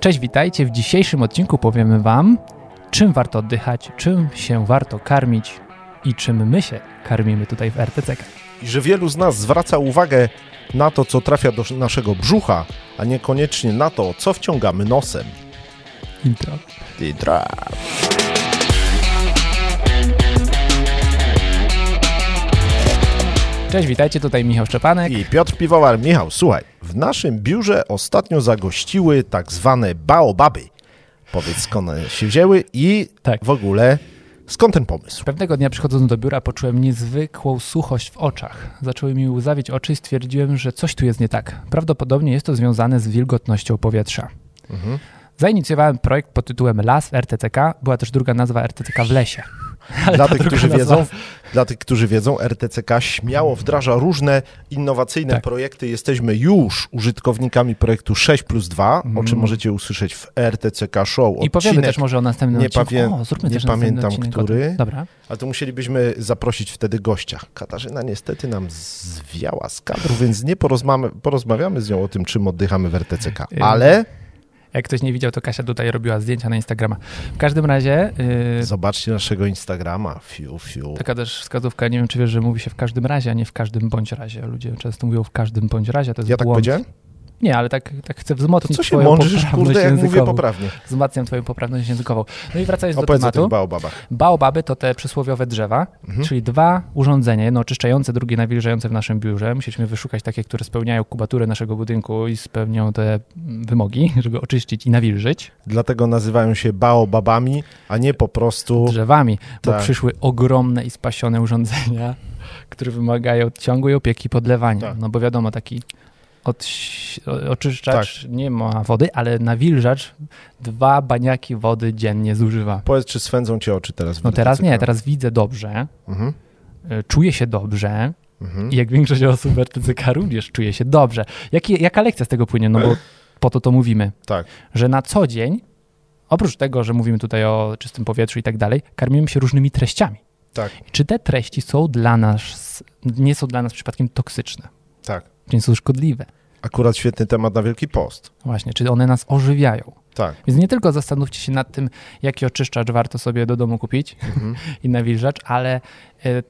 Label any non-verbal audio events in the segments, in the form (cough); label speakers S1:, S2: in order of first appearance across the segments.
S1: Cześć, witajcie. W dzisiejszym odcinku powiemy Wam, czym warto oddychać, czym się warto karmić i czym my się karmimy tutaj w RTCK.
S2: I że wielu z nas zwraca uwagę na to, co trafia do naszego brzucha, a niekoniecznie na to, co wciągamy nosem.
S1: Intro. Cześć, witajcie. Tutaj Michał Szczepanek.
S2: I Piotr Piwowar, Michał, słuchaj, w naszym biurze ostatnio zagościły tak zwane baobaby. Powiedz skąd one się wzięły i
S1: Tak.
S2: w ogóle skąd ten pomysł?
S1: Pewnego dnia przychodząc do biura poczułem niezwykłą suchość w oczach. Zaczęły mi łzawić oczy i stwierdziłem, że coś tu jest nie tak. Prawdopodobnie jest to związane z wilgotnością powietrza.
S2: Mhm.
S1: Zainicjowałem projekt pod tytułem Las RTCK. Była też druga nazwa RTCK w lesie. (laughs) Ale
S2: (laughs) Dla
S1: ta
S2: tych,
S1: druga
S2: którzy
S1: nazwa-
S2: wiedzą, dla tych, którzy wiedzą, RTCK śmiało wdraża różne innowacyjne
S1: Tak.
S2: projekty. Jesteśmy już użytkownikami projektu 6 plus 2, o czym możecie usłyszeć w RTCK Show.
S1: Mhm. I powiemy
S2: odcinek
S1: też może o następnym
S2: nie
S1: odcinku.
S2: pawię-
S1: o, zróbmy
S2: nie
S1: też następny
S2: pamiętam,
S1: odcinek o
S2: który.
S1: tym. Dobra.
S2: Ale to musielibyśmy zaprosić wtedy gościa. Katarzyna niestety nam zwiała z kadru, więc nie porozmawiamy, porozmawiamy z nią o tym, czym oddychamy w RTCK.
S1: Ym,
S2: Ale
S1: Jak ktoś nie widział, to Kasia tutaj robiła zdjęcia na Instagrama. W każdym razie yy,
S2: zobaczcie naszego Instagrama. Fiu, fiu.
S1: Taka też wskazówka, nie wiem czy wiesz, że mówi się w każdym razie, a nie w każdym bądź razie. Ludzie często mówią w każdym bądź razie, a to jest
S2: Ja tak
S1: błąd.
S2: powiedziałem?
S1: Nie, ale tak, tak chcę
S2: To
S1: wzmocnić
S2: co się
S1: twoją
S2: mądrzysz,
S1: poprawność
S2: kurde, jak
S1: językową.
S2: mówię poprawnie.
S1: Wzmacniam twoją poprawność językową. No i wracając
S2: Opowiedz
S1: do
S2: o Mhm. tych
S1: tematu.
S2: baobabach.
S1: Baobaby to te przysłowiowe drzewa, czyli dwa urządzenia, jedno oczyszczające, drugie nawilżające w naszym biurze. Musieliśmy wyszukać takie, które spełniają kubaturę naszego budynku i spełnią te mm, wymogi, żeby oczyścić i nawilżyć
S2: Dlatego nazywają się baobabami, a nie po prostu...
S1: drzewami, bo
S2: Tak.
S1: przyszły ogromne i spasione urządzenia, które wymagają ciągłej opieki i podlewania.
S2: Tak.
S1: No bo wiadomo, taki odś- o- oczyszczacz
S2: Tak.
S1: nie ma wody, ale nawilżacz dwa baniaki wody dziennie zużywa.
S2: Powiedz, czy swędzą cię oczy teraz? w
S1: No teraz nie,
S2: RTCK?
S1: teraz widzę dobrze,
S2: Mhm.
S1: y, czuję się dobrze,
S2: Mhm.
S1: I jak większość osób w RTCK również czuje się dobrze. Jaki, jaka lekcja z tego płynie? No bo po to to mówimy,
S2: Tak.
S1: że na co dzień, oprócz tego, że mówimy tutaj o czystym powietrzu i tak dalej, karmimy się różnymi treściami.
S2: Tak.
S1: I Czy te treści są dla nas, nie są dla nas przypadkiem toksyczne,
S2: Tak.
S1: czy nie są szkodliwe? No
S2: Akurat świetny temat na Wielki Post.
S1: Właśnie, czy one nas ożywiają?
S2: Tak.
S1: Więc nie tylko zastanówcie się nad tym, jaki oczyszczacz warto sobie do domu kupić
S2: Mhm.
S1: (laughs) i nawilżacz, ale e,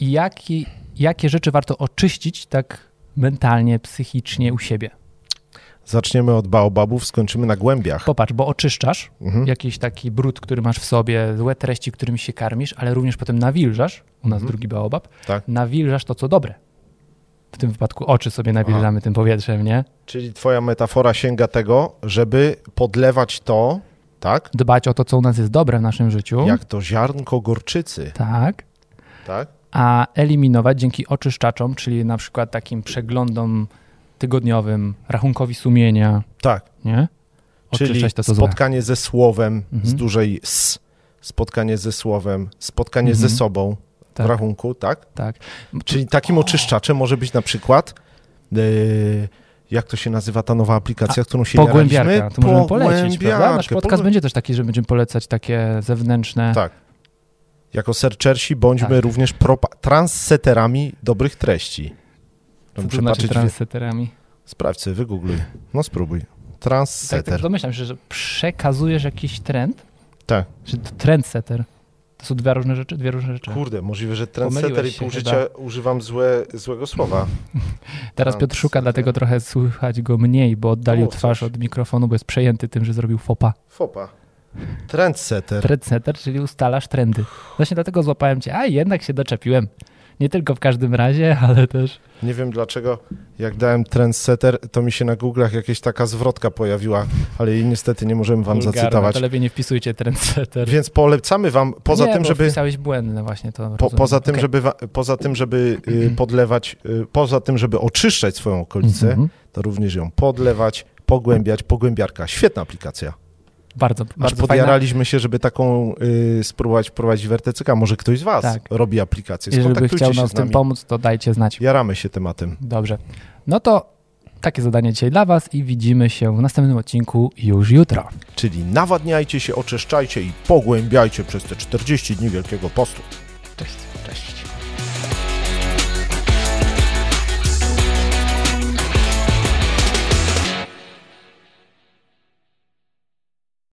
S1: jaki, jakie rzeczy warto oczyścić tak mentalnie, psychicznie u siebie.
S2: Zaczniemy od baobabów, skończymy na głębiach.
S1: Popatrz, bo oczyszczasz
S2: Mhm.
S1: jakiś taki brud, który masz w sobie, złe treści, którymi się karmisz, ale również potem nawilżasz, u nas drugi baobab,
S2: Mhm. Tak.
S1: nawilżasz to, co dobre. W tym wypadku oczy sobie nawilżamy tym powietrzem, nie?
S2: Czyli twoja metafora sięga tego, żeby podlewać to, tak?
S1: Dbać o to, co u nas jest dobre w naszym życiu.
S2: Jak to ziarnko gorczycy,
S1: Tak.
S2: tak?
S1: a eliminować dzięki oczyszczaczom, czyli na przykład takim przeglądom tygodniowym, rachunkowi sumienia,
S2: Tak.
S1: nie?
S2: Czyli
S1: Oczyszczać to, co Mhm. złe.
S2: spotkanie ze słowem z dużej s, spotkanie ze słowem, spotkanie ze sobą
S1: Tak.
S2: w rachunku, tak?
S1: Tak.
S2: Czyli takim oczyszczaczem może być na przykład yy, jak to się nazywa ta nowa aplikacja, którą się
S1: Pogłębiarka,
S2: jaraliśmy?
S1: to możemy polecić, prawda? Nasz
S2: Pogłębiarkę,
S1: podcast będzie też taki, że będziemy polecać takie zewnętrzne...
S2: Tak. Jako serczersi bądźmy
S1: Tak.
S2: również propa- transseterami dobrych treści.
S1: co to
S2: Muszę
S1: znaczy
S2: patrzeć w...
S1: transeterami.
S2: Sprawdź sobie, wygoogluj. No spróbuj.
S1: Tak, tak,
S2: Transseter.
S1: domyślam się, że przekazujesz jakiś trend,
S2: Tak.
S1: czy to trendsetter. To są dwie różne rzeczy, dwie różne rzeczy.
S2: Kurde, możliwe, że
S1: tak. Pomyliłeś
S2: transseter i
S1: się
S2: pół
S1: chyba.
S2: życia używam złe, złego słowa.
S1: Teraz Piotr szuka,
S2: Trendsetter.
S1: dlatego trochę słychać go mniej, bo oddalił
S2: Mów coś.
S1: twarz od mikrofonu, bo jest przejęty tym, że zrobił fopa.
S2: Fopa. Trendsetter.
S1: Trendsetter, czyli ustalasz trendy. Właśnie dlatego złapałem cię, a jednak się doczepiłem. Nie tylko w każdym razie, ale też.
S2: Nie wiem dlaczego, jak dałem trendsetter, to mi się na Google'ach jakaś taka zwrotka pojawiła, ale jej niestety nie możemy wam
S1: wulgarne.
S2: zacytować.
S1: To lepiej nie wpisujcie trendsetter.
S2: Więc polecamy wam, poza
S1: nie,
S2: tym,
S1: bo
S2: żeby...
S1: Wpisałeś błędne właśnie to.
S2: Po,
S1: rozumiem.
S2: poza, tym,
S1: Okej.
S2: żeby, wa- poza tym, żeby y, podlewać, y, poza tym, żeby oczyszczać swoją okolicę,
S1: Mhm.
S2: to również ją podlewać, pogłębiać, pogłębiarka. Świetna aplikacja.
S1: Bardzo,
S2: Aż
S1: bardzo fajna.
S2: podjaraliśmy się, żeby taką y, spróbować wprowadzić w RTCK. Może ktoś z Was
S1: Tak.
S2: robi aplikację.
S1: Jeżeli by
S2: Skontaktujcie
S1: chciał
S2: się
S1: nam w
S2: z
S1: tym
S2: nami.
S1: pomóc, to dajcie znać.
S2: Jaramy się tematem.
S1: Dobrze. No to takie zadanie dzisiaj dla Was i widzimy się w następnym odcinku już jutro.
S2: Czyli nawadniajcie się, oczyszczajcie i pogłębiajcie przez te 40 dni Wielkiego Postu.
S1: Cześć.